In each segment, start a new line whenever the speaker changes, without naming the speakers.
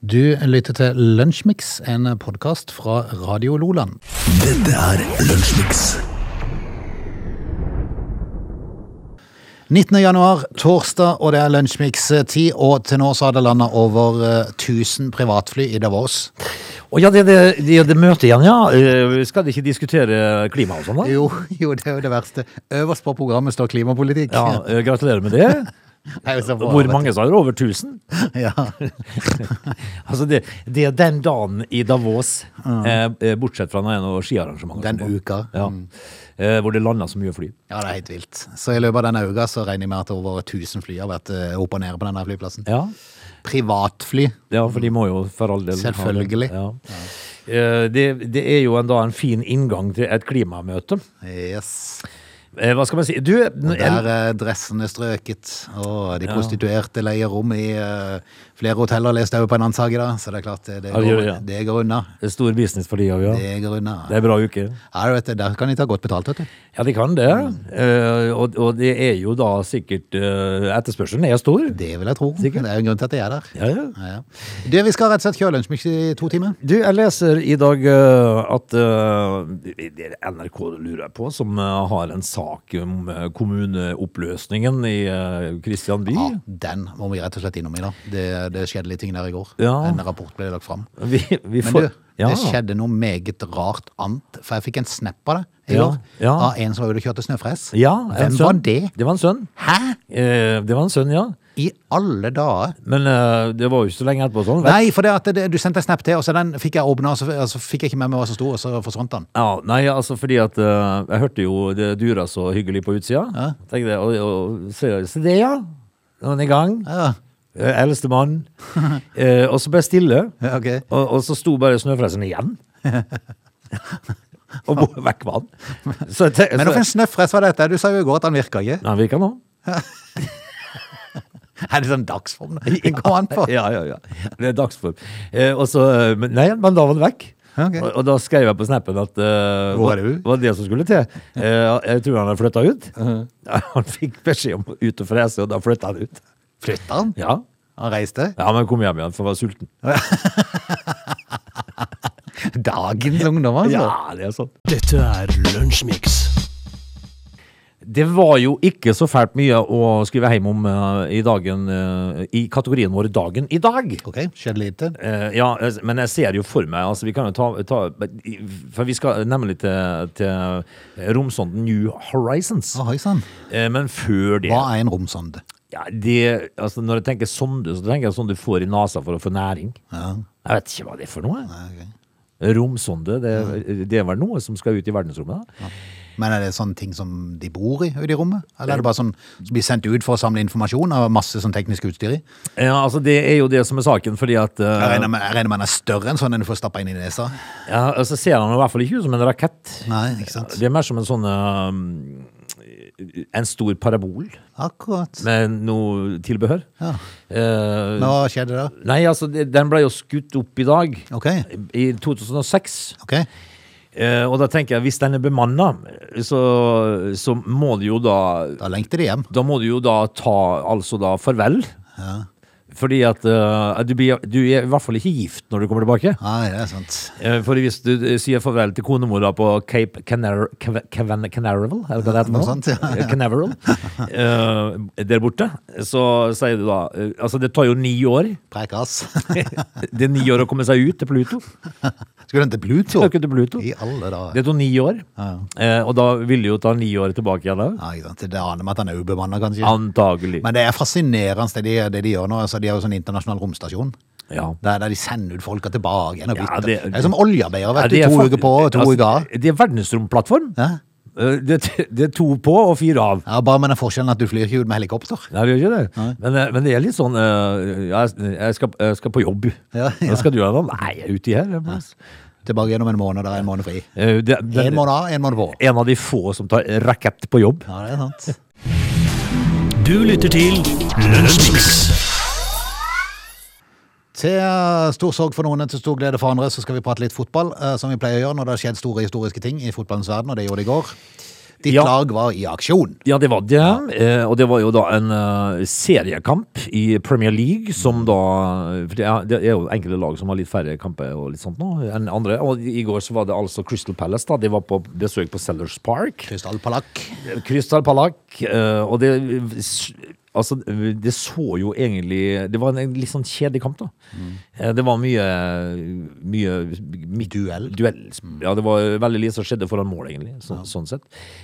Du lytter til Lunsjmix, en podkast fra Radio Loland.
Dette er Lunsjmix.
19. januar, torsdag, og det er Lunsjmix-tid. Og til nå så har det landa over eh, 1000 privatfly i Davos.
Og ja, det, det, det, det møtet igjen, ja. Eh, Skal de ikke diskutere klima og sånn, da?
Jo, jo, det er jo det verste. Øverst på programmet står klimapolitikk.
Ja, eh, Gratulerer med det.
Det er jo så bra,
Hvor
vet
mange sa det? Over 1000?
du. Ja.
Altså, det, det er den dagen i Davos, eh, eh, bortsett fra når det er noe skiarrangement. og
Den Mm.
sånt.
uka.
Ja. Eh, Hvor det landa så mye fly.
ja, det er helt vilt. Så i løpet av denne uka så regner jeg med at over 1000 fly har vært eh, opp og ned på denne flyplassen.
Ja.
Privatfly.
Ja, for de må jo for all del ha det.
Selvfølgelig.
Ja. Eh, Det, det er jo en, da en fin inngang til et klimamøte.
Yes.
Eh, Hva skal man si? Du,
Og Der er dressene strøket, og de prostituerte leier rom i eh, flere hoteller, leste jeg jo på en annen sak i dag, så det er klart, eh, det, det,
Ja, det gjør
går,
det, ja.
det går unna.
stor business for de òg, ja.
Det går unna.
Det er bra uke.
Ja, du vet, det, der kan de ta godt betalt, vet du.
Ja, de kan det. Eh, og, og det er jo da sikkert eh, Etterspørselen er stor.
Det vil jeg tro.
Sikkert.
Det er jo en grunn til at de er der.
Ja, ja.
Ja, ja. Du, vi skal rett og slett kjøre lunsjmix i to timer.
Du, jeg leser i dag eh, at eh, det er NRK lurer jeg på, som eh, har en sak om eh, kommuneoppløsningen i uh, Kristianby.
Ja, den må vi rett og slett innom i dag. Det, det skjedde litt ting der i går.
Ja.
En rapport ble lagt fram.
Vi, vi
Men
får,
du,
ja.
det skjedde noe meget rart annet, for jeg fikk en snap av det i
Ja,
går,
ja.
av en som var ute og kjørte snøfres.
Ja, en
Hvem
sønn.
var det?
Det var en sønn.
Hæ?
Eh, det var en sønn, ja.
I alle dager?
Men eh, det var jo ikke så lenge etterpå. sånn. vet-
Nei, for det at det, du sendte en snap til, og så den fikk jeg åpna, og så, og så fikk jeg ikke med meg hva som sto, og så forsvant den.
Ja, nei, altså fordi at eh, Jeg hørte jo det dura så hyggelig på utsida. Tenkte jeg, og, og, se, se det, ja. Nå er den i gang.
Ja,
Eh, Eldstemann. Eh, og så ble jeg stille.
Ja, ok.
Og, og så sto bare snøfresen igjen. og bo, vekk var han. Så jeg tenk-
Men
så-
hvorfor en snøfres var dette? Du sa jo i går at han virka ikke.
Nei, han virker nå.
Er det sånn dagsform den går an på?
Ja, ja, ja. Det er dagsform. Eh, og så, eh, men, nei, men da var det vekk.
Ok.
Og, og da skrev jeg på snappen at eh,
Hvor er
hva-
du?
hva det som skulle til. Eh, jeg tror han hadde flytta ut.
Uh-huh.
Han fikk beskjed om å ut og frese, og da flytta han ut.
Flytta han?
Ja.
Han reiste?
ja, men kom hjem igjen, for han var sulten.
Dagens ungdom, altså.
Ja, det er sånn.
Dette er Lunsjmix.
Det var jo ikke så fælt mye å skrive hjem om eh, i, dagen, eh, i kategorien vår Dagen i dag.
Ok, skjedde lite.
Eh, ja, eh, men jeg ser jo for meg altså, Vi kan jo ta, ta For vi skal nemlig til, til romsonden New Horizons.
Å, Oi sann.
Eh, men før det,
Ah. Hva er en romsonde?
ja, det altså, Når jeg tenker sonde, så tenker jeg sånn du får i nesa for å få næring.
Ja.
Jeg vet ikke hva det er for noe.
Ja, ok.
Romsonde, det, det er vel noe som skal ut i verdensrommet? da?
Men er det sånne ting som de bor i ute i rommet? Eller er det bare sånn som blir sendt ut for å samle informasjon og masse sånn teknisk utstyr i?
Ja, altså Det er jo det som er saken, fordi at eh,
Jeg regner med, jeg regner med den er større enn sånn en du får stappa inn i nesa.
ja, altså, ser han i hvert fall ikke ut som en rakett.
Nei, ikke sant?
Det er mer som en sånn eh, En stor parabol
Akkurat.
med noe tilbehør.
Ja.
Eh,
Men hva skjedde da?
Nei, altså, det- den ble jo skutt opp i dag.
Ok,
I 2006.
ok.
Eh, og da tenker jeg, hvis den er bemanna, så, så må du jo da
Da lengte de hjem.
Da må du jo da ta altså da farvel. Fordi at eh, du, blir, du er i hvert fall ikke gift når du kommer tilbake.
Nei, det er sant.
Eh, For hvis du eh, sier farvel til konemora på Cape Canar Cav- Cavan- Canaveral, eller hva det heter
Noe
nå?
sånt, ja.
Eh, Canaveral, eh, der borte, så sier du da eh, Altså, det tar jo ni år.
Preik ass.
Det er ni år å komme seg ut til Pluto.
Skulle den til Pluto?
Det er ikke til Pluto.
I alle dager.
Det tok ni år, eh, og da ville det jo ta ni år tilbake igjen òg.
Ja, ikke sant. Det aner meg at han er ubemannet, kanskje.
Antagelig.
Men det er fascinerende det de, det de gjør nå. Altså, de har jo sånn internasjonal romstasjon.
Ja.
Der, der de sender ut folka tilbake igjen og
Ja,
bytter. det,
det-
er som oljearbeidere,
Ja,
vet
det er
du. To
fa-
uker på og to
altså,
uker av.
Det er verdensromplattform.
Ja.
Eh, Det, er t- det er to på og fire av.
Ja, bare med den forskjellen at du flyr ikke ut med helikopter.
Nei, det gjør ikke det. Men, eh, men det er litt sånn eh, jeg, jeg, skal, jeg skal på jobb.
Ja, ja.
Hva skal du gjøre da? Nei, jeg er uti her. jeg må-
Tilbake gjennom en måned, der er en måned fri.
Eh, det- det-
En måned av, en måned på.
en av de få som tar rakett på jobb.
Ja, det er sant.
Du lytter til Lunsjmix.
Til eh, stor sorg for noen, til stor glede for andre, så skal vi prate litt fotball, eh, som vi pleier å gjøre når det har skjedd store historiske ting i fotballens verden, og det gjorde det i går. Ditt
Ja.
lag var i aksjon.
Ja, det var det. Eh, og det var jo da en eh, seriekamp i Premier League, som da For det er, det er jo enkelte lag som har litt færre kamper og litt sånt nå enn andre. Og i går så var det altså Crystal Palace, da. De var på besøk på Sellers Park.
Krystallpalakk.
Krystal Palak, eh, og det Altså, det så jo egentlig Det var en, en litt sånn kjedelig kamp, da. Eh, Det var mye, mye midt-
Duell.
Ja, det var veldig lite som skjedde foran mål, egentlig. Så, Sånn sett.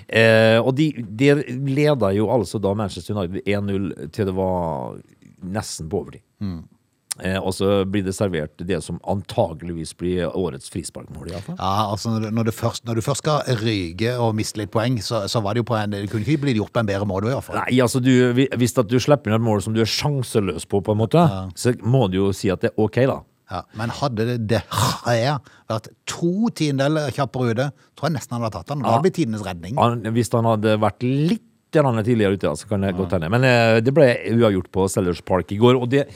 Eh, og de, de leda jo altså da Manchester United 1-0 til det var nesten på overtid. Eh, og så blir det servert det som antageligvis blir årets frisparkmål, iallfall.
Ja, altså når du- når du, først, når du først skal ryge og miste litt poeng, så, så var det jo på en Det kunne ikke blitt gjort på en bedre måte, i hvert fall.
Nei, altså du, vi- hvis at du slipper inn et mål som du er sjanseløs på, på en måte, så må du jo si at det er ok, da.
Ja, men hadde det det her vært to tiendedeler kjappere ute, tror jeg nesten han hadde tatt den. Det hadde blitt tidenes redning.
Han, hvis han hadde vært litt grann tidligere ute, da, så kan det godt hende. Men eh, det ble uavgjort på Sellers Park i går, og det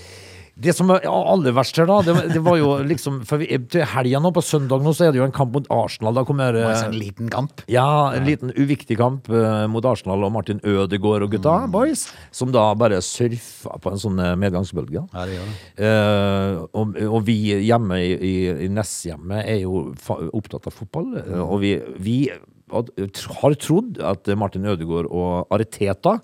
det som var aller verst her, da, det, var- det var jo liksom for vi, Til helga nå, på søndag nå, så er det jo en kamp mot Arsenal. Da kommer eh,
Altså en liten kamp.
Ja, en liten uviktig kamp eh, mot Arsenal og Martin Ødegaard og gutta,
Mm.
boys, som da bare surfa på en sånn eh, medgangsbølge.
Ja, det gjør det.
Eh, og, og vi hjemme i, i, i Nesshjemmet er jo fa opptatt av fotball, eh, og vi, vi had- har trodd at Martin Ødegaard og Areteta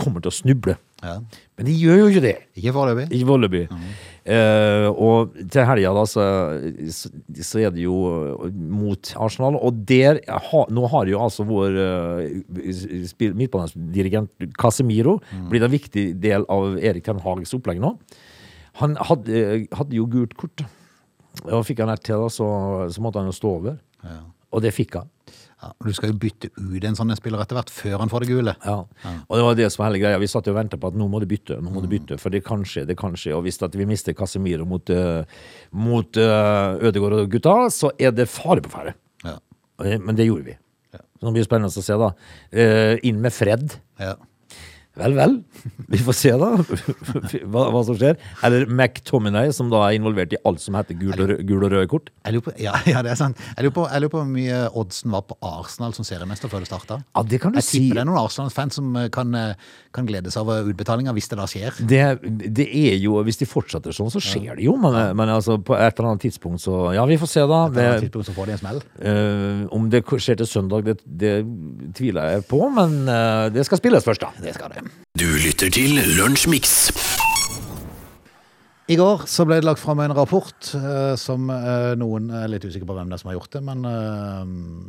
kommer til å snuble.
Ja.
Men de gjør jo ikke det.
Ikke foreløpig.
Ikke foreløpig. Eh, og til helga, da, så, så, så er det jo eh, mot Arsenal. Og der ha, Nå har jo altså vår eh, spil- midtbanedirigent Casemiro blitt en viktig del av Erik Ten Hags opplegg nå. Han hadde, hadde jo gult kort. Og fikk han ett til, da, så, så måtte han jo stå over. Og det fikk han.
Ja, men du skal jo bytte ut en sånn spiller etter hvert, før han får det gule.
Ja. Og det var det som var hele greia. Vi satt jo og venta på at nå må det bytte, nå må
Mm.
det bytte, for det kan skje, det kan skje. Og hvis at vi mister Casemiro mot, eh, mot eh, Ødegaard og gutta, så er det fare på ferde.
Ja.
Eh, Men det gjorde vi. Så det blir spennende å se, da. Eh, inn med Fred.
Ja.
Vel, vel. Vi får se, da, hva, hva som skjer. Eller McTominay, som da er involvert i alt som heter gul og, rød, gul og røde kort.
Jeg lurer på, ja, ja, det er sant. Jeg lurer på, jeg lurer på hvor mye oddsen var på Arsenal som seriemester før det starta.
Ja, det kan du
Jeg
si.
tipper det er noen Arsenal-fans som eh, kan, eh, kan glede seg over utbetalinga hvis det da skjer.
Det, det er jo, Hvis de fortsetter sånn, så skjer det jo. Men, men altså, på et eller annet tidspunkt så Ja, vi får se, da.
På et eller
Det-
annet tidspunkt så får de en smell.
Eh, om det k- skjer til søndag, det, det tviler jeg på, men eh, det skal spilles først, da. Det skal det.
Du lytter til Lunsjmix.
I går så ble det lagt fram en rapport eh, som eh, noen er litt usikre på hvem det er som har gjort det, men eh,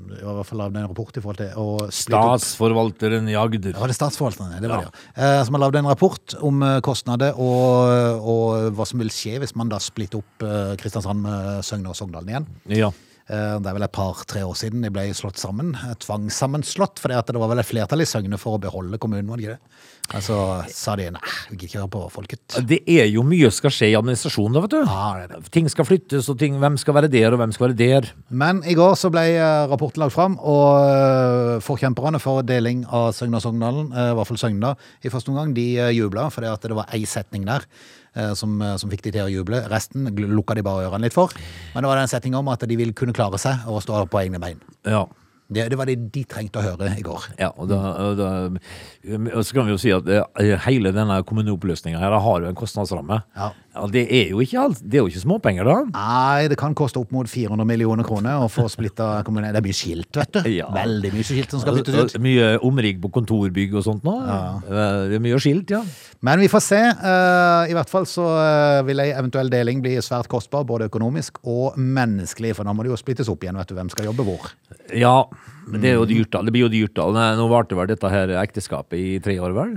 det var i hvert fall lagd en rapport i forhold til å splitte opp-
Statsforvalteren i Agder.
Ja, det er statsforvalterne, det var det, ja. Eh, Som har lagd en rapport om eh, kostnader og, og hva som vil skje hvis man da splitter opp eh, Kristiansand med Søgne og Sogndalen igjen.
Ja.
Eh, Det er vel et par-tre år siden de ble slått sammen. eh, Tvangssammenslått, for det var vel et flertall i Søgne for å beholde kommunen, var det ikke det? Men så sa de nei, vi gidder ikke høre på folket.
Det er jo mye skal skje i administrasjonen, da, vet du.
Ja, det er
Ting skal flyttes, og ting, hvem skal være der, og hvem skal være der.
Men i går så ble eh, rapporten lagt fram, og eh, forkjemperne for deling av Søgne og Sogndalen, eh, i hvert fall Søgne, i første omgang, de jubla fordi at det var ei setning der eh, som, eh, som fikk de til å juble. Resten gl- lukka de bare ørene litt for. Men det var den setninga om at de vil kunne klare seg og stå på egne bein.
Ja.
Det, det var det de trengte å høre i går.
Ja, og, da, og, da, og så kan vi jo si at eh, hele denne kommuneoppløsninga her har jo en kostnadsramme.
Ja.
det er jo ikke alt. Det er jo ikke småpenger, da.
Nei, det kan koste opp mot 400 millioner kroner å få splitta kommunen. Det er mye skilt, vet du.
Ja.
Veldig mye skilt som skal byttes ut.
Mye omrigg på kontorbygg og sånt nå. Eh, Det er mye skilt, ja.
Men vi får se. Eh, I hvert fall så eh, vil ei eventuell deling bli svært kostbar, både økonomisk og menneskelig. For da må det jo splittes opp igjen, vet du. Hvem skal jobbe hvor?
Ja, men det er
Mm.
jo dyrt da. Det blir jo dyrt da. Nei, Nå varte vel dette her ekteskapet i tre år, vel?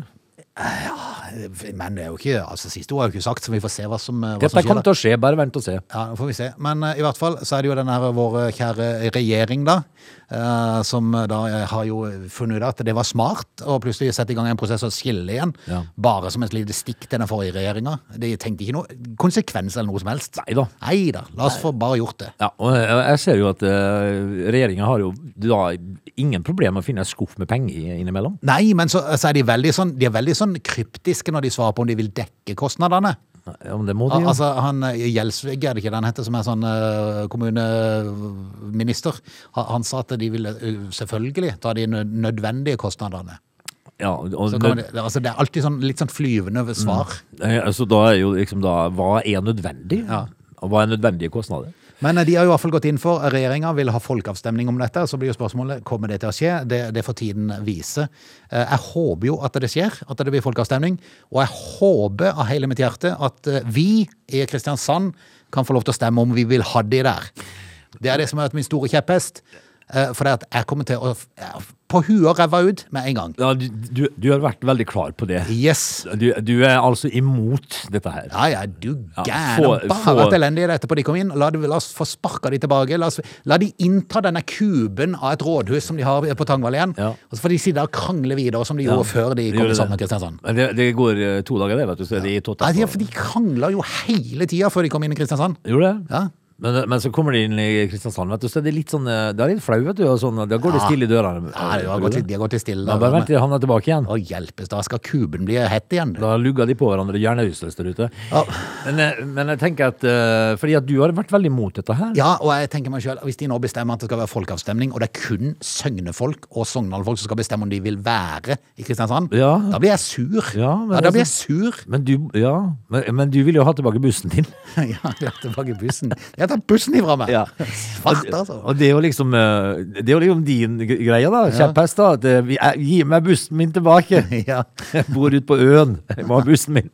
Men det er jo ikke altså siste ord er jo ikke sagt, så vi får se hva som, eh, hva som
Dette
skjer.
kommer
da.
til å skje, bare vent og se.
Ja, nå får vi se. Men eh, i hvert fall så er det jo den her vår eh, kjære regjering, da. eh, som eh, da eh, har jo funnet ut at det var smart å plutselig sette i gang en prosess og skille igjen.
Ja.
Bare som et lite stikk til den forrige regjeringa. De tenkte ikke noe konsekvens eller noe som helst.
Nei da.
Nei da, la oss få bare gjort det.
Ja, og jeg jeg ser jo at uh, regjeringen har jo da ingen problem med å finne en skuff med penger i- innimellom.
eh, Nei, men så, så er de veldig sånn De er veldig sånn kryptiske når de svarer på om de vil dekke kostnadene.
Ja, men det må de
Al
jo.
altså, han eh, Gjelsvik, er det ikke det han heter, som er sånn eh, kommuneminister? Han, han sa at de ville eh, selvfølgelig ta de nø- nødvendige kostnadene.
Ja, og,
Så
nød-
kan man, altså, det er alltid sånn, litt sånn flyvende ved svar.
Eh, altså, da er jo liksom da Hva er nødvendig?
Ja.
Og Hva er nødvendige kostnader?
Men eh, de har jo i hvert fall gått inn for eh, regjeringa vil ha folkeavstemning om dette. Så blir jo spørsmålet kommer det til å skje. Det, det får tiden vise. Eh, Jeg håper jo at det skjer, at det blir folkeavstemning. Og jeg håper av hele mitt hjerte at eh, vi i Kristiansand kan få lov til å stemme om vi vil ha de der. Det er det som har vært min store kjepphest. eh, For det at jeg kommer til å f- eh, på huet og ræva ut med en gang.
Ja, du, du, du har vært veldig klar på det.
Yes!
Du, du er altså imot dette her.
Ja, ja, du
Ja,
gæren.
få-
Bare
få-
vært elendige etterpå de kom inn. La, de, la oss få sparka de tilbake. La, oss, la de innta denne kuben av et rådhus som de har på Tangvall igjen.
Ja.
Og så får de sitte og krangle videre som de
Ja,
gjorde før de
de
kom
gjorde
sammen med
det.
Kristiansand.
Men Det, det går eh, to dager, det, vet du. Så er de i tått
Ja, de,
etterpå.
for de krangla jo hele tida før de kom inn i Kristiansand.
Gjorde det?
Ja.
Men, men så kommer de inn i Kristiansand, vet du, så er det litt sånn eh, Det er litt flau, vet du. Og sånn, da går det
Ja.
stille i
Ja,
dørene.
de har
Tror
gått,
du
litt- de har gått litt stille.
Ja, bare vent til han er tilbake igjen.
Å hjelpes, da skal kuben bli hett igjen. du.
Da lugger de på hverandre jernausløs der ute.
Ja.
Men, eh, men jeg tenker at eh, Fordi at du har vært veldig imot dette her.
Ja, og jeg tenker meg selv, Hvis de nå bestemmer at det skal være folkeavstemning, og det er kun søgnefolk og sognalfolk som skal bestemme om de vil være i Kristiansand,
Ja.
da blir jeg sur.
Ja, men
da blir jeg
altså-
sur.
Men du, ja, men, men du vil jo ha tilbake bussen din.
ja, jeg er tilbake i bussen. Jeg tar bussen ifra meg!
Ja.
Svart, altså.
Og det er jo liksom eh, Det er jo liksom din g- greie, da. Kjepphest, da. At eh, vi- eh, gi meg bussen min tilbake!
Ja.
Jeg bor ute på øen. Jeg må ha bussen min.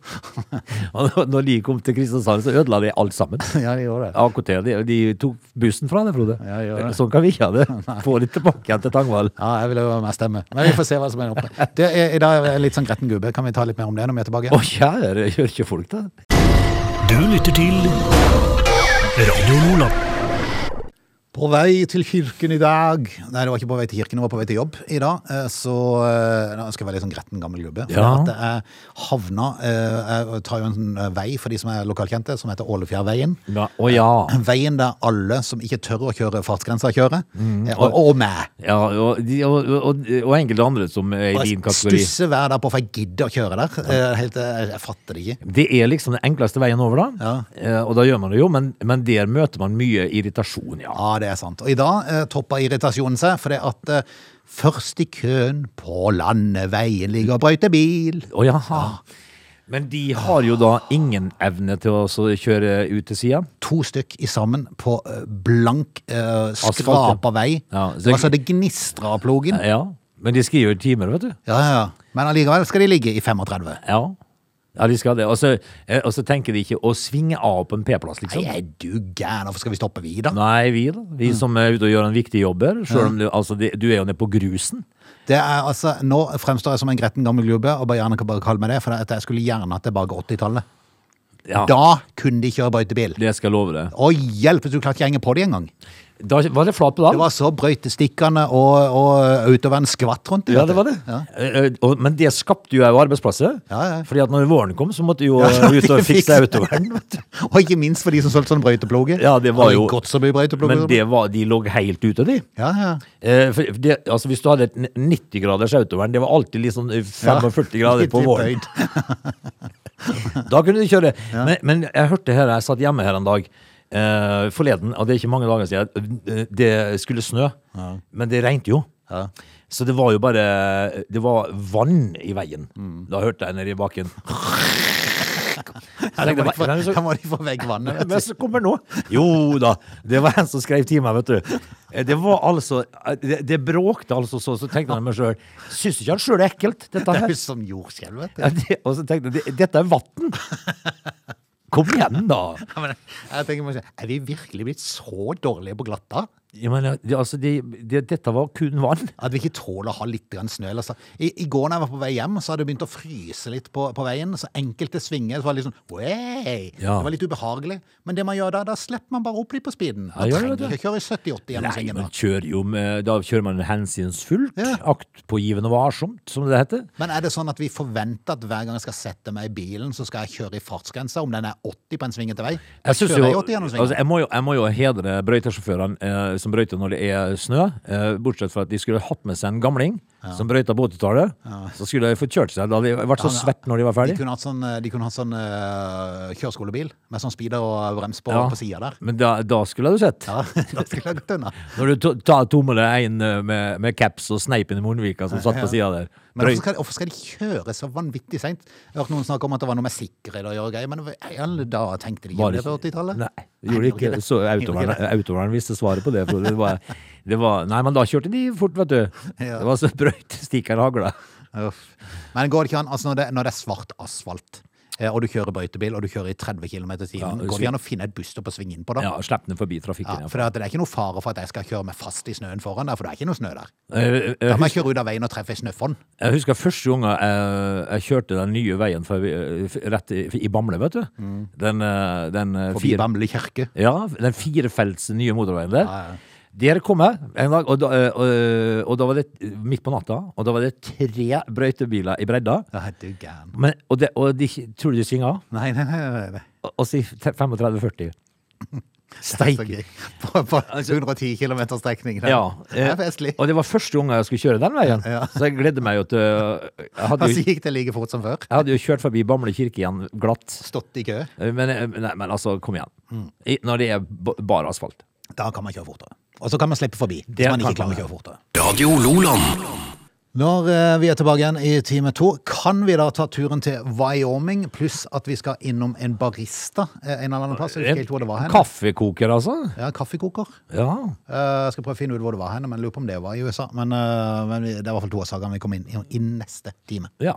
Og nå- når de kom til Kristiansand, så ødela de alt sammen.
ja, de gjorde det.
AKT, de, de tok bussen fra deg, Frode.
Ja, gjør det.
sånn kan vi ikke ha det. Få det tilbake igjen til Tangvall.
Ja, jeg vil jo være med og stemme. Men vi får se hva som er oppe. Det er, I dag er jeg litt sånn gretten gubbe. Kan vi ta litt mer om det når vi er tilbake?
Å, kjære kirkefolk, da.
Du lytter til Radio Lola.
På vei til kirken i dag Nei, det var ikke på vei til kirken, det var på vei til jobb i dag. Eh, Så eh, nå skal jeg være litt sånn gretten gammel gubbe. For
Ja.
det at jeg havna eh, Jeg tar jo en sånn eh, vei for de som er lokalkjente, som heter Ålefjærveien.
Ja, å ja.
Veien der alle som ikke tør å kjøre fartsgrensa, kjører.
Mm.
Eh, Og, og meg.
ja og, de, og, og, og enkelte andre som er i din
Jeg
kategori.
stusser hver dag på for jeg gidder å kjøre der. Eh, Helt, eh, jeg fatter det ikke.
Det er liksom den enkleste veien over, da.
Ja.
Eh, og da gjør man det jo, men, men der møter man mye irritasjon, ja.
Ja, det er sant. Og i dag eh, toppa irritasjonen seg, for det at eh, først i køen på landeveien ligger brøytebil.
Å jaha. Men de har jo da ingen evne til å så kjøre ut til sida.
To stykk i sammen på eh, blank, eh,
Asfalt,
skrapa vei.
Ja, så-
Det var så det gnistra av plogen.
Ja. Men de skriver jo timer, vet du.
Ja, ja, ja. Men allikevel skal de ligge i 35.
Ja. Ja, de skal det. Og så, eh, og så tenker de ikke å svinge av på en P-plass, liksom.
Nei, er du gæren? Hvorfor skal vi stoppe, vi, da?
Nei, vi da. Vi som er ute og gjør en viktig jobb her. Selv om du, altså, de, du er jo nede på grusen.
Det er altså, Nå fremstår jeg som en gretten gammel gubbe, og bare gjerne kan bare kalle meg det, for det at jeg skulle gjerne tilbake 80-tallet.
Ja,
Da kunne de kjøre brøytebil.
det skal jeg love deg.
Å hjelpe, du klarte ikke å henge på de engang.
Da var det flat
Det
pedal.
var så brøytestikkene og, og autoverden skvatt rundt.
Ja, det var det.
Ja.
Eh, eh, og- Men det skapte jo også arbeidsplasser.
Ja, ja.
Fordi at når våren kom, så måtte jo
Ja,
eh, ut og fikse
fikse.
autoverden. vet du.
Og ikke minst for de som solgte sånn brøyteploge.
Ja, det var jo- Men
Godserby-brøyteploge.
det var, de lå helt ute, de.
Ja, ja.
Eh, for det, altså hvis du hadde et 90-graders autovern, det var alltid litt sånn eh, 45 grader
Litt
på
i
våren.
bøyd.
Da kunne du kjøre. Men, men jeg hørte her, jeg satt hjemme her en dag eh, forleden, og det er ikke mange dager siden, eh, det skulle snø. Men det regnet jo.
Ja.
Så det var jo bare Det var vann i veien.
Mm.
Da hørte jeg nede i bakken.
Ja, da, må
Nei,
de få,
men så-
da må de få vekk vannet, vet
men så kommer nå Jo da, det var en som skrev til meg, vet du. Det var altså Det, det bråkte altså så, så tenkte han meg sjøl Syns ikke han sjøl er ekkelt, dette
Det er
her?
jo som jordskjelv, vet du.
Ja, det, og så tenkte jeg det- Dette er vann! Kom igjen, da!
Ja, men Jeg tenker meg selv, Er vi virkelig blitt så dårlige på glatta?
Jeg mener, det, altså, det, det, dette var kun vann.
At vi ikke tåler å ha litt grann snø. Eller så. I, I går når jeg var på vei hjem, så hadde det begynt å fryse litt på, på veien. Så enkelte svinger så var det litt sånn «Wey!»
Ja.
Det var litt ubehagelig. Men det man gjør da, da slipper man bare opp litt på speeden. Da
Ja, gjør det.
trenger ikke kjøre i 70-80 gjennom
Nei,
svingen.
Altså, man
da.
kjører jo med, Da kjører man hensynsfullt,
Ja.
aktpågivende og varsomt, som det heter.
Men er det sånn at vi forventer at hver gang jeg skal sette meg i bilen, så skal jeg kjøre i fartsgrensa, om den er 80 på en svingete vei? Da
Jeg, synes
kjører
jo,
jeg 80 gjennom svingen.
altså jeg, må jo, jeg må jo hedre brøytesjåførene eh, som brøyter når det er snø, eh, bortsett fra at de skulle hatt med seg en gamling. som brøyta på 80-tallet. Så skulle de fått kjørt seg. Da hadde de vært så
Ja,
svett når de var
De
ferdig.
kunne hatt sånn, eh, de kunne hatt sånn eh, kjøreskolebil med sånn speeder og brems på,
Ja.
på sida der.
Men da, da skulle du sett.
Ja, da skulle jeg gått unna.
Når du to- tar tommel en eh, med, med caps og sneipen i Mornvika som satt på sida der.
Men
Brøy-
hvorfor skal, hvorfor skal de kjøre så vanvittig seint? Jeg har hørt noen snakke om at det var noe med sikkerhet å gjøre greier, men i alle dager tenkte de ikke
Var
på det
det
på
ikke-
80-tallet?
Nei, det
Nei,
gjorde
det
ikke
gjorde
det.
ikke
Så
det. Gjorde
autovern, autovern visste svaret på det. For det, var, det var, nei, men da kjørte de fort, vet du.
Ja.
Det var så brøyt stikkeren hagla.
Uff. Men går det ikke an, altså når det, når det er svart asfalt, eh, og du kjører brøytebil, og du kjører i 30 km i timen,
Ja,
går det ikke an å finne et busstopp og svinge inn på da?
Ja, Slipp den forbi
Ja,
trafikken. Ja.
for det, at det er ikke noe fare for at jeg skal kjøre meg fast i snøen foran der, for det er ikke noe snø der.
Eh, eh,
Da må jeg kjøre ut av veien og treffe ei snøfonn.
Jeg husker første gang jeg, jeg kjørte den nye veien forbi, eh, rett i, i Bamble, vet du. Den, eh, den, eh,
Mm. Forbi
fire-
Bamble kirke.
Ja, den firefelts nye motorveien der.
Ja, ja.
Der kom jeg en dag, og da, eh, og, og da var det midt på natta, og da var det tre brøytebiler i bredda.
Ja, du gæren.
Men, og, det, og de tror du de svinga?
Nei, nei, nei. nei, nei.
Og og si 35-40.
Så
Steike. Altså-
gøy. På, på 110 km strekning. der.
Ja,
Det
eh,
er festlig.
og det var første gang jeg skulle kjøre den veien,
Ja. Altså,
så jeg gledde meg jo til eh, jeg hadde,
Og så
jo,
gikk det like fort som før.
jeg hadde jo kjørt forbi Bamble kirke igjen glatt.
Stått i kø.
Eh, Men, eh, nei, men altså, kom igjen.
Mm.
I, når det er b- bare asfalt.
Da kan man kjøre fortere. Og så kan man slippe forbi hvis
Det
man ikke
kan
klarer
man.
å kjøre fortere.
Radio Loland.
Når eh, vi er tilbake igjen i time to, kan vi da ta turen til Wyoming, pluss at vi skal innom en barista eh, en eller annen plass. Jeg husker ikke hvor det var hen.
Kaffekoker, altså.
Ja, kaffekoker.
Ja.
Eh, skal prøve å finne ut hvor det var hen, men lurer på om det var i USA. Men, eh, men vi- det er i hvert fall to av sakene vi kommer inn i i neste time.
ja.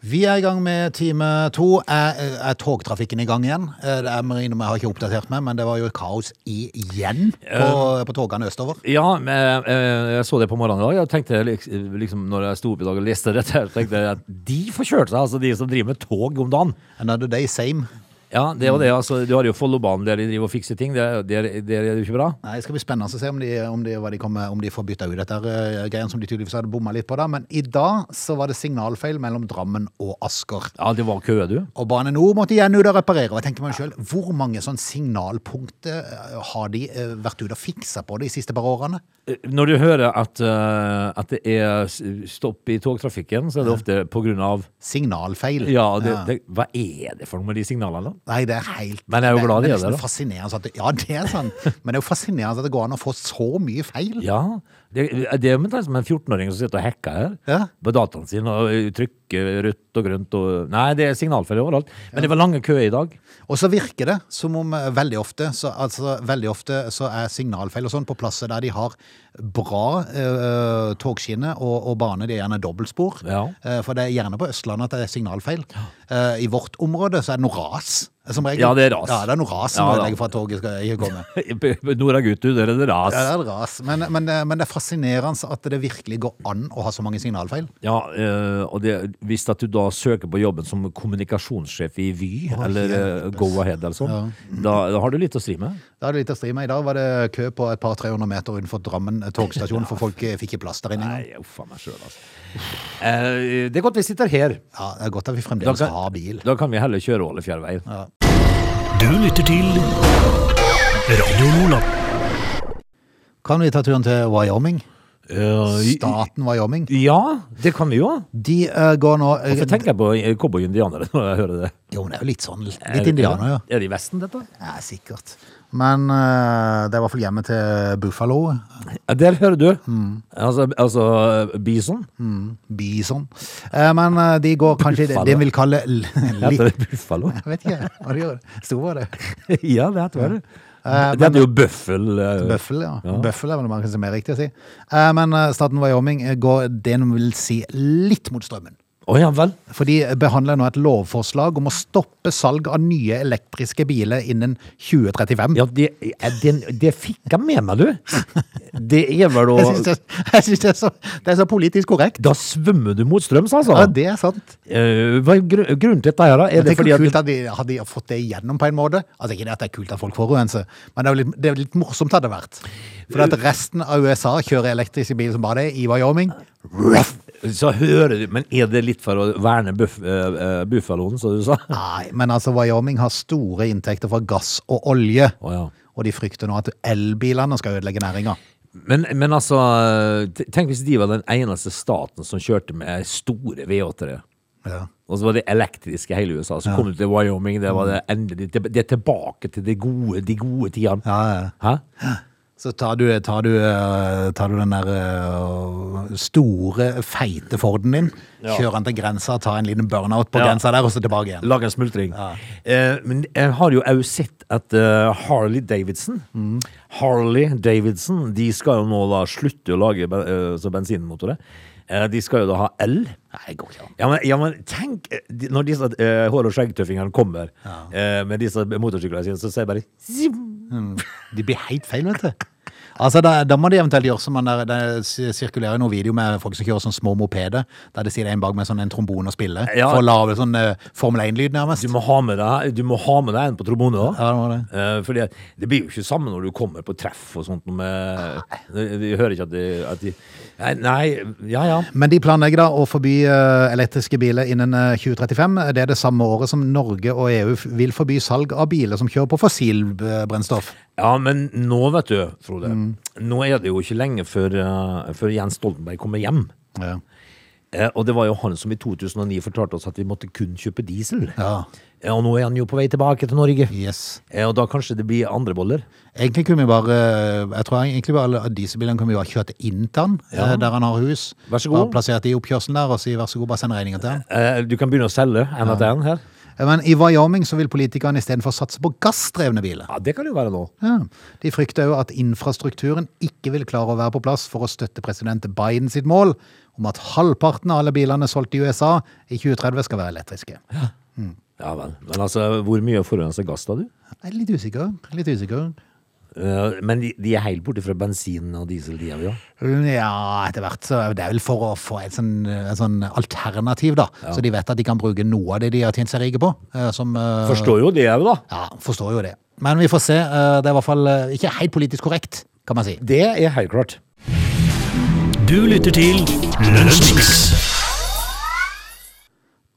Vi er i gang med time to. Er, er togtrafikken i gang igjen? Eh, Det er jeg innrømme, jeg har ikke oppdatert meg, men det var jo kaos igjen på, på togene østover.
Ja, men, eh, jeg så det på morgenen i dag. Jeg tenkte liks- liksom, når jeg sto opp i dag og leste dette, her, tenkte jeg at de får kjørt seg, altså de som driver med tog om dagen.
Another day same.
Ja, det og det. Altså, du har jo Follobanen der de driver og fikser ting. Der, der, der er det jo ikke bra.
Nei, Det skal bli spennende å se om de, om de, hva de, kommer, om de får bytta ut dette eh, greien som de tydeligvis hadde bomma litt på. da. Men i dag så var det signalfeil mellom Drammen og Asker.
Ja, det var kø, du.
Og Bane Nor måtte igjen ut og reparere. Og jeg tenker meg selv, Hvor mange sånn signalpunkter eh, har de eh, vært ute og fiksa på de siste par årene?
Eh, Når du hører at, eh, at det er s- stopp i togtrafikken, så er det ofte på grunn av
Signalfeil.
Ja, det, det, hva er det for noe med de signalene?
Nei, det er helt
Men jeg er jo glad de
det
er
nesten
det, da.
fascinerende at det, Ja, det er sant. Men det er jo fascinerende at det går an å få så mye feil.
Ja, det, det er omtrent som en 14-åring som sitter og hacker her
Ja.
på dataen sin og eh, trykker rødt og grønt og Nei, det er signalfeil overalt. Men det var lange køer i dag.
Og så virker det som om eh, veldig ofte så, altså, veldig ofte så er signalfeil og sånn på plasser der de har bra eh, togskinne og, og bane, det er gjerne dobbeltspor.
Ja.
Eh, for det er gjerne på Østlandet at det er signalfeil. Eh, I vårt område så er det noe ras. Som regel.
Ja, det er ras.
Ja, det er noe ras som
Ja, da.
ødelegger for at toget skal ikke komme.
Nora Gutu, der er det ras.
Ja, det er et ras. Men, men, eh, men det er fascinerende at det virkelig går an å ha så mange signalfeil.
Ja, eh, og det, hvis at du da søker på jobben som kommunikasjonssjef i Vy, eller eh, Go-Ahead eller sånn, da, da har du litt å stri med.
Da er det litt å stri med. I dag var det kø på et par 300 meter utenfor Drammen eh, togstasjon, for folk eh, fikk ikke plass der inne engang.
Nei, uff a meg sjøl, altså. Eh, det er godt vi sitter her.
Ja, det er godt at vi
Da
fremdeles
kan,
har bil.
da kan vi heller kjøre Ålefjellveien.
Du lytter til Radio Loland.
Kan vi ta turen til Wyoming?
Eh,
Staten Wyoming.
ja, det kan vi jo.
De eh, går nå eh,
Hvorfor tenker jeg på eh, cowboy-indianere når jeg hører det?
Jo, men det er jo litt sånn
Er
Litt
det-
indianer, ja.
Er det i Vesten, dette?
ja sikkert. Men eh, det er i hvert fall hjemmet til Buffalo.
Ja, Der hører du. Altså, altså eh, bison.
Bison. Eh, men eh, de går kanskje det
Buffalo.
det en vil kalle l- litt
Heter det buffalo?
Jeg vet ikke hva de gjør. Stor var det.
ja, det heter det.
Eh,
Det heter jo bøffel. eh,
Bøffel, ja. Bøffel er vel man kan si mer riktig å si. Eh, Men eh, staten Wyoming eh, går det en vil si litt mot strømmen.
Å ja vel.
For de behandler nå et lovforslag om å stoppe salg av nye elektriske biler innen 2035.
Ja, det, ja, den, det fikk jeg med meg, du. Det er vel å
Jeg synes det, jeg synes det, er så, det er så politisk korrekt.
Da svømmer du mot strøms, altså.
Ja, det er sant.
Eh, Hva er gru- grunnen til dette her, da? Er
Men
det
tenk
fordi
hvor
at
kult at de hadde fått det igjennom på en måte. Altså Ikke det at det er kult at folk forurenser, men det er jo litt, det er jo litt morsomt hadde det vært. For
Øh.
at resten av USA kjører elektriske biler som bare det, i Wyoming.
Så hører du, men er det litt for å verne buff, eh, eh, buffaloen, som du sa? Å
Nei, men altså Wyoming har store inntekter fra gass og olje.
ja.
Og de frykter nå at elbilene skal ødelegge næringa.
Men, men altså, t- tenk hvis de var den eneste staten som kjørte med store V8-ere.
Ja.
Og så var det elektriske hele USA. Så kom du til Wyoming, det var det endelig Det det er tilbake til de gode, de gode tidene.
Ja, ja.
Hæ?
Så tar du, tar du, eh, tar du den der eh, store, feite Forden din, kjører den til grensa, tar en liten burnout på
Ja.
grensa der, og så tilbake igjen.
Lag en smultring. Eh, men jeg har jo òg sett at eh, Harley Davidson
Mm.
Harley Davidson De skal jo nå da slutte å lage ben, eh, så bensinmotorer. Eh, de skal jo da ha el.
Nei, går ikke an.
Ja, men, ja, men tenk eh, de- når disse eh, hår- og skjeggtøffingene kommer eh, med disse motorsyklene sine, så sier jeg bare zim.
De blir helt feil, vet du. Altså, da, da må de eventuelt gjøre som man der, det sir- sirkulerer jo noen video med folk som kjører sånne små mopeder, der det sitter en bak med sånn en trombone og spiller,
Ja.
for å lage sånn eh, Formel 1-lyd nærmest.
Du må ha med deg Du må ha med deg en på trombone, da.
Ja, det var det.
Eh, fordi at det blir jo ikke samme når du kommer på treff og sånt. Med, vi, vi hører ikke at de, at de nei, nei, ja ja.
Men de planlegger da å forby eh, elektriske biler innen eh, 2035. Det er det samme året som Norge og EU f- vil forby salg av biler som kjører på eh, fossilbrennstoff.
Ja, men nå, vet du, Frode. Nå er det jo ikke lenge før, eh, før Jens Stoltenberg kommer hjem.
Ja.
Eh, og det var jo han som i 2009 fortalte oss at vi måtte kun kjøpe diesel.
Ja.
Eh, og nå er han jo på vei tilbake til Norge.
Yes.
Eh, og da kanskje det blir andre boller.
Egentlig kunne vi bare eh, Jeg tror egentlig bare alle dieselbilene kunne vi bare kjørt inn til han, eh, der han har hus.
Vær så god.
Bare plassert de i oppkjørselen der og si vær så god, bare send regninga til han.
Eh, du kan begynne å selge en etter en her.
Eh, Men i Wyoming så vil politikerne istedenfor satse på gassdrevne biler.
Ja, det kan det jo være nå.
Ja. De frykter jo at infrastrukturen ikke vil klare å være på plass for å støtte president Biden sitt mål om at halvparten av alle bilene solgt i USA i 2030 skal være elektriske. Jeg
Ja vel. Men altså, hvor mye forurenser gass da, du?
er litt usikker. Litt usikker.
Eh, men de, de er helt borte fra bensin og diesel, de er jo.
Ja, etter hvert. Så det er vel for å få et sånn, et sånn alternativ, da. Så de vet at de kan bruke noe av det de har tjent seg rike på. eh, Som, eh,
Forstår jo det, jeg, da.
Ja, forstår jo det. Men vi får se. eh, Det er i hvert fall eh, ikke helt politisk korrekt, kan man si.
Det er helt klart.
Du lytter til Lunsjmix.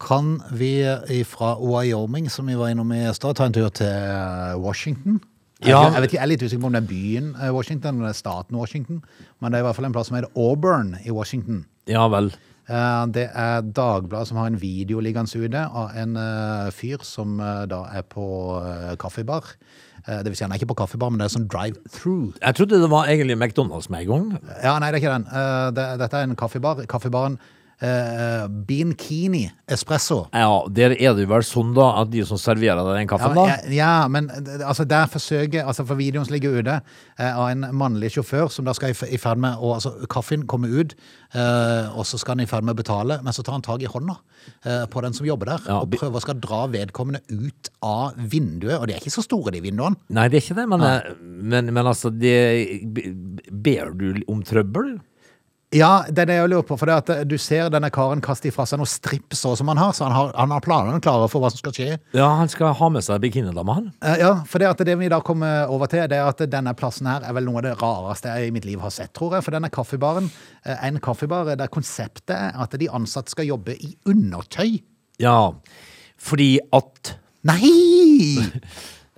Kan vi fra Wyoming, som vi var innom i stad, ta en tur til eh, Washington? Jeg,
Ja.
jeg, vet ikke, jeg er litt usikker på om det er byen eh, Washington, eller staten Washington, men det er i hvert fall en plass som heter Auburn i Washington.
Ja vel.
Eh, Det er Dagbladet som har en video liggende ute av en eh, fyr som eh, da er på eh, kaffebar. Eh, Det vil si han er ikke på kaffebar, men det er sånn drive-through.
Jeg trodde det var egentlig McDonald's med en gang.
Ja, nei, det er ikke den. Eh, det, dette er en kaffebar. Kaffebaren eh, Binkini Espresso.
Ja, Der er det jo vel sånn da at de som serverer deg den
Ja,
kaffen,
men,
da
ja, ja, men eh, altså, der forsøker altså, For videoen som ligger ute, eh, av en mannlig sjåfør som da skal i, f- i ferd med å altså, Kaffen kommer ut, eh, og så skal han i ferd med å betale, men så tar han tak i hånda eh, på den som jobber der,
Ja,
og
bi-
prøver å skal dra vedkommende ut av vinduet. Og de er ikke så store, de vinduene.
Nei, det er ikke det, men, eh, men, men altså det, Ber du om trøbbel?
Ja, det er det jeg lurer på. For det at eh, du ser denne karen kaste ifra seg noen strips også, som han har, så han har, han har planene klare for hva som skal skje.
Ja, han skal ha med seg bikinidama, han.
Eh, Ja, for det, at det vi da kommer over til, det er at denne plassen her er vel noe av det rareste jeg i mitt liv har sett, tror jeg. For denne kaffebaren eh, er en kaffebar der konseptet er at de ansatte skal jobbe i undertøy.
Ja, fordi at
Nei!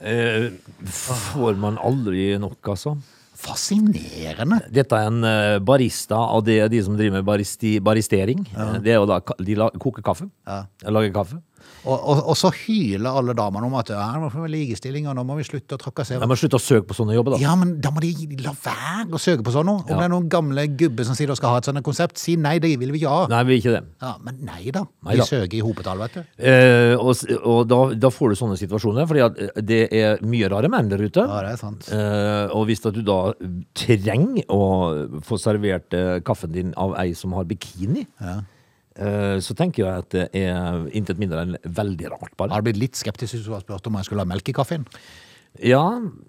eh, Får man aldri nok, altså.
Fascinerende.
Dette er en eh, barista, og det er de som driver med baristi, baristering. Eh, Det er jo da ka- De la, koker kaffe. Lager kaffe.
Og, og, og så hyler alle damene om at ja, nå får vi likestilling, og nå må vi slutte å trakassere.
Jeg må slutte å søke på sånne jobber, da.
Ja, men da må de la være å søke på sånn noe. Om
Ja.
det er noen gamle gubbe som sier de skal ha et sånt konsept, si nei, det vil vi ikke ha.
Nei, vi vil ikke det.
Ja, men nei da.
Nei da.
De søker i hopetall, vet du.
Eh, og s- og da, da får du sånne situasjoner, fordi at eh, det er mye rare menn der ute.
Ja, det er sant.
Eh, og hvis at du da trenger å få servert eh, kaffen din av ei som har bikini, eh, så tenker jeg at det er intet mindre enn veldig rart, bare.
Jeg hadde blitt litt skeptisk hvis du hadde spurt om jeg skulle ha melk i kaffen.
Ja,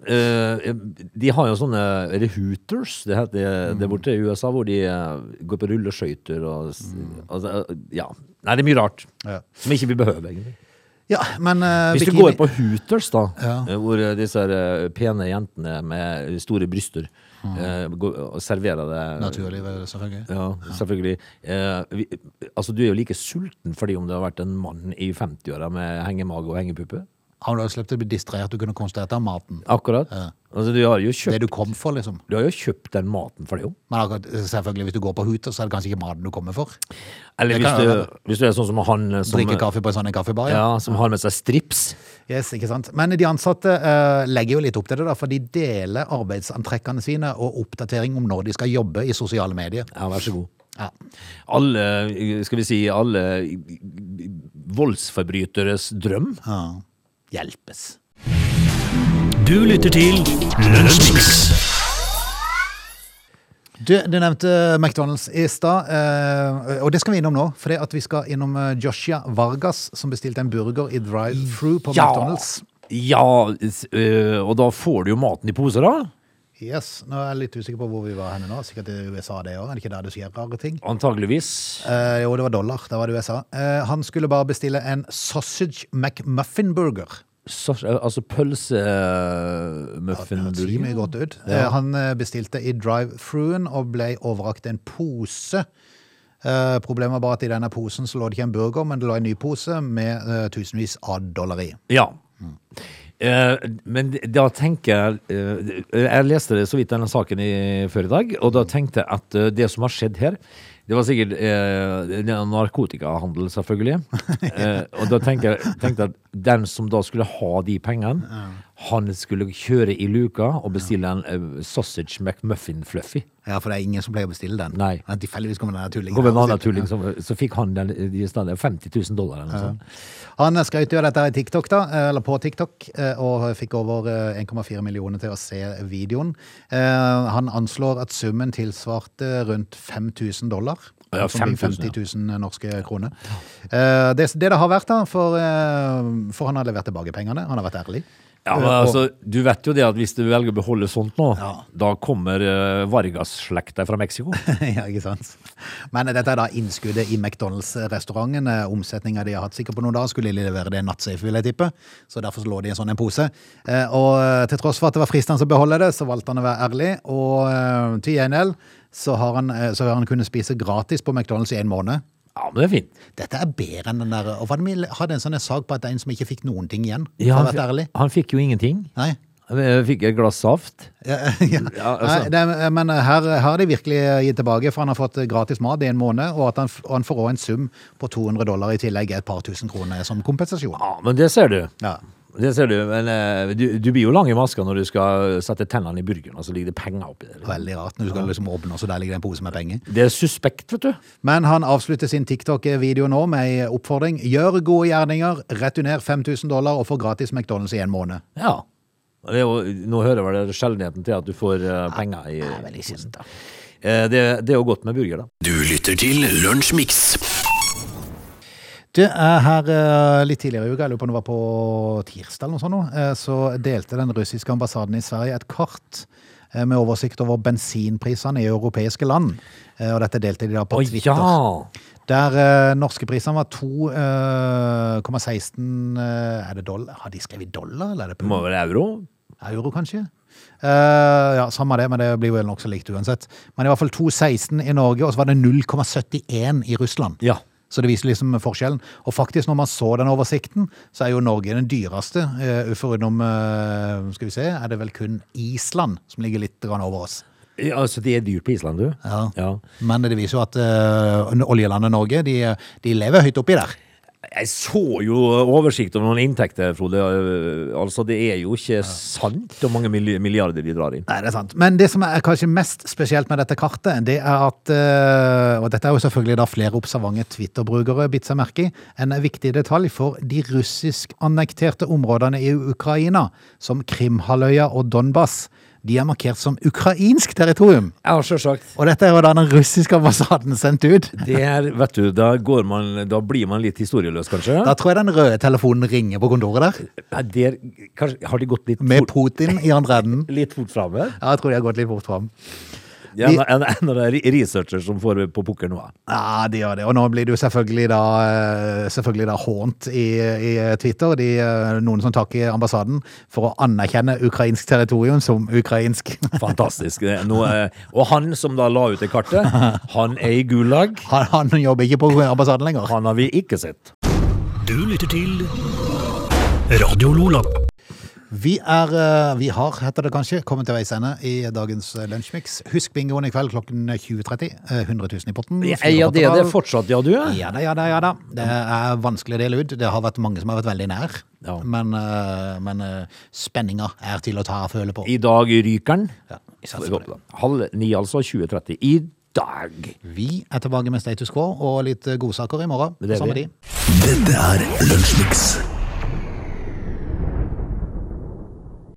eh, de har jo sånne er det hooters, det heter det borte i USA, hvor de eh, går på rulleskøyter og s- altså, eh, Ja. Nei, det er mye rart
Ja.
som ikke vi behøver, egentlig.
Ja, men eh,
Hvis du
bikini-
går på hooters, da,
Ja.
eh, hvor eh, disse her, eh, pene jentene med store bryster
Mm.
eh, går, og serverer det
Naturlig, vel, selvfølgelig.
Ja, selvfølgelig. Eh, vi, altså, du er jo like sulten fordi om det har vært en mann i 50-åra med hengemage og hengepuppe.
Har du sluppet å bli distrahert og kunne konstatert av maten?
Akkurat. Altså, du har jo kjøpt
Det du kom for, liksom.
Du har jo kjøpt den maten for det, jo.
Men akkurat, eh, selvfølgelig, hvis du går på Huter, så er det kanskje ikke maten du kommer for.
Eller
Det
hvis
kan jo
du, hvis du er sånn som han eh, som,
Drikke kaffe på en sånn en kaffebar.
ja, som har med seg strips.
Yes, ikke sant? Men de ansatte eh, legger jo litt opp til det, da, for de deler arbeidsantrekkene sine og oppdatering om når de skal jobbe i sosiale medier.
Ja, vær så god.
Ja.
Alle, eh, skal vi si, alle eh, voldsforbryteres drøm.
ja. Hjelpes.
Du lytter til Lunsjmix.
Du, du nevnte McDonald's i stad, eh, og det skal vi innom nå. For det at vi skal innom eh, Joshua Vargas, som bestilte en burger i drive-through på McDonald's.
ja s- eh, og da får du jo maten i poser, da.
Yes, Nå er jeg litt usikker på hvor vi var henne nå. Sikkert i USA, det òg. Er det ikke der det skjer rare ting?
Antageligvis.
Eh, jo, det var dollar. Da var det USA. Eh, han skulle bare bestille en sausage McMuffin-burger.
Så, eh, altså
Det ser mye
pølsemuffinburger.
godt ut. Eh, Han eh, bestilte i drive-thruen og ble overrakt en pose. Eh, Problemet var bare at i denne posen så lå det ikke en burger, men det lå en ny pose med eh, tusenvis av dollar i.
Ja. Eh, men da tenker jeg eh, Jeg leste det så vidt denne saken i, før i dag, og da tenkte jeg at eh, det som har skjedd her Det var sikkert eh, det er narkotikahandel, selvfølgelig. Eh, og da tenkte jeg tenkte jeg at den som da skulle ha de pengene, han skulle kjøre i luka og bestille en eh, sausage McMuffin fluffy.
Ja, for det er ingen som pleier å bestille den.
Nei.
Men Tilfeldigvis kommer denne tullingen.
Kom en
her og
annen
sier-
tulling, som- så fikk han den i stedet 50 000 dollar eller noe sånt.
Han skrøt jo av dette her i TikTok da, eller på TikTok, eh, og fikk over eh, 1,4 millioner til å se videoen. Eh, Han anslår at summen tilsvarte rundt 5000 dollar. altså
Ja,
som blir
5000, ja.
50 000 norske kroner. Eh, Det, det det har vært, da, for, eh, for han har levert tilbake pengene. Han har vært ærlig.
Ja, men
Eh, og-
altså, Du vet jo det at hvis du velger å beholde sånt nå, da kommer eh, Vargas-slekta fra Mexico.
ja, ikke sant? Men dette er da innskuddet i McDonald's-restauranten. Omsetninga de har hatt sikkert på noen dager, skulle de levere det i en nattsafe, vil jeg tippe. Så derfor så lå det i en sånn en pose. Eh, Og eh, til tross for at det var fristende å beholde det, så valgte han å være ærlig. Og eh, til gjengjeld så har han, eh, så har han kunnet spise gratis på McDonald's i en måned.
Ja, men det er fint.
Dette er bedre enn den der Og hva er det vi hadde en sånn en sak på at det er en som ikke fikk noen ting igjen?
Ja,
for å
han,
ha vært ærlig.
fi- han fikk jo ingenting.
Nei.
Eh, Fikk et glass saft.
Ja, ja.
Ja, altså.
Nei, det, er- men her her har de virkelig eh, gitt tilbake, for han har fått eh, gratis mat i en måned, og at han, f- og han får også en sum på 200 dollar i tillegg, et par tusen kroner som kompensasjon.
Ja, men det ser du.
Ja.
Det ser du, men eh, du, du blir jo lang i maska når du skal sette tennene i burgeren, og så ligger det penger oppi der.
Veldig rart når du skal liksom åpne, og så der ligger det en pose med penger.
Det er suspekt, vet du.
Men han avslutter sin TikTok-video nå med ei oppfordring. Gjør gode gjerninger, returner 5000 dollar og få gratis McDonald's i en måned.
Ja. Det er jo, nå hører jeg vel det sjeldenheten til at du får eh, penger i
Ah, er veldig sjelden, da.
Eh, Det, det er jo godt med burger, da.
Du lytter til Lunsjmix.
Du, eh, her eh, litt tidligere i uka, jeg lurer på om det var på tirsdag eller noe sånt, nå, eh, så delte den russiske ambassaden i Sverige et kart eh, med oversikt over bensinprisene i europeiske land. Eh, Og dette delte de da på
Å
Twitter.
ja!
Der eh, norske prisene var 2,16 eh, Er det dollar? Har de skrevet dollar, eller er det pund?
Må være euro?
Euro, kanskje? Eh, ja, samme det, men det blir vel nokså likt uansett. Men i hvert fall 2,16 i Norge, og så var det 0,71 i Russland.
Ja.
Så det viser liksom forskjellen. Og faktisk, når man så den oversikten, så er jo Norge den dyreste, eh, foruten eh, Skal vi se, er det vel kun Island som ligger litt grann over oss.
Ja, altså det er dyrt på Island, du?
Ja. Men det viser jo at eh, oljelandet Norge, de, eh, de lever høyt oppi der.
Jeg så jo oversikt over noen inntekter, Frode. Øh, Altså, det er jo ikke sant hvor mange milli- milliarder de drar inn.
Nei, det er sant. Men det som er kanskje mest spesielt med dette kartet, det er at eh, Og dette er jo selvfølgelig da flere observante Twitter-brukere bitt seg merke i. En viktig detalj for de russisk-annekterte områdene i Ukraina, som Krimhalvøya og Donbas, de er markert som ukrainsk territorium.
Ja, sjølsagt.
Og dette er jo da den russiske ambassaden sendt ut.
Det er, vet du, da, går man, da blir man litt historieløs, kanskje.
Da tror jeg den røde telefonen ringer på kontoret der,
Nei, der, kanskje har de gått litt
med
fort,
Putin i andre enden.
litt fort framme?
Ja, jeg tror de har gått litt fort fram.
Ja, en, en, en av de researcher som får på pukker nå.
Ja, de gjør det. Og nå blir det jo selvfølgelig da, eh, selvfølgelig da hånt i, i Twitter. De, eh, noen som tar i ambassaden for å anerkjenne ukrainsk territorium som ukrainsk.
Fantastisk. Det er noe, eh, og han som da la ut det kartet, han er i Gulag.
Han, han jobber ikke på ambassaden lenger.
Han har vi ikke sett.
Du lytter til Radio Lola.
Vi er, eh, vi har, heter det kanskje, kommet til veis ende i dagens lunsjmix. Husk bingoen i kveld klokken 20.30. eh, 100 000 i potten.
Ja,
fire
ja, det er det
potter.
fortsatt, ja du?
Ja da, ja da, ja da. Det er vanskelig å dele ut. Det har vært mange som har vært veldig nær.
Ja.
Men, eh, men eh, spenninga er til å ta og føle på.
I dag ryker den.
Ja, vi satser på det.
Halv ni, altså. 20.30. I dag.
Vi er tilbake med status quo og litt eh, godsaker i morgen.
Det er
Samme
vi.
tid.
Dette er Lunsjmix.